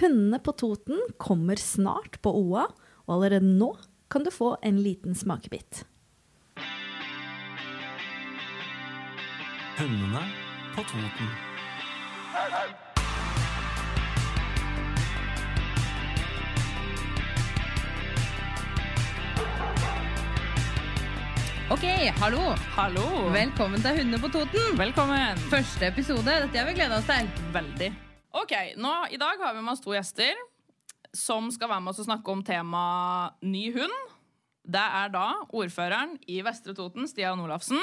Hundene på Toten kommer snart på OA, og allerede nå kan du få en liten smakebit. Hundene på Toten. Ok, hallo. Hmm. Hallo. Velkommen til Hundene på Toten. Velkommen. Første episode. Dette har vi gleda oss til. Veldig. Ok, nå, I dag har vi med oss to gjester som skal være med oss og snakke om temaet ny hund. Det er da ordføreren i Vestre Toten, Stian Olafsen,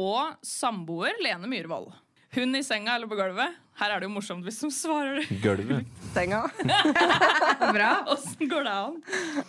og samboer Lene Myhrvold. Hund i senga eller på gulvet? Her er det jo morsomt hvis de svarer det. Gulvet. senga. Bra. Åssen går det an?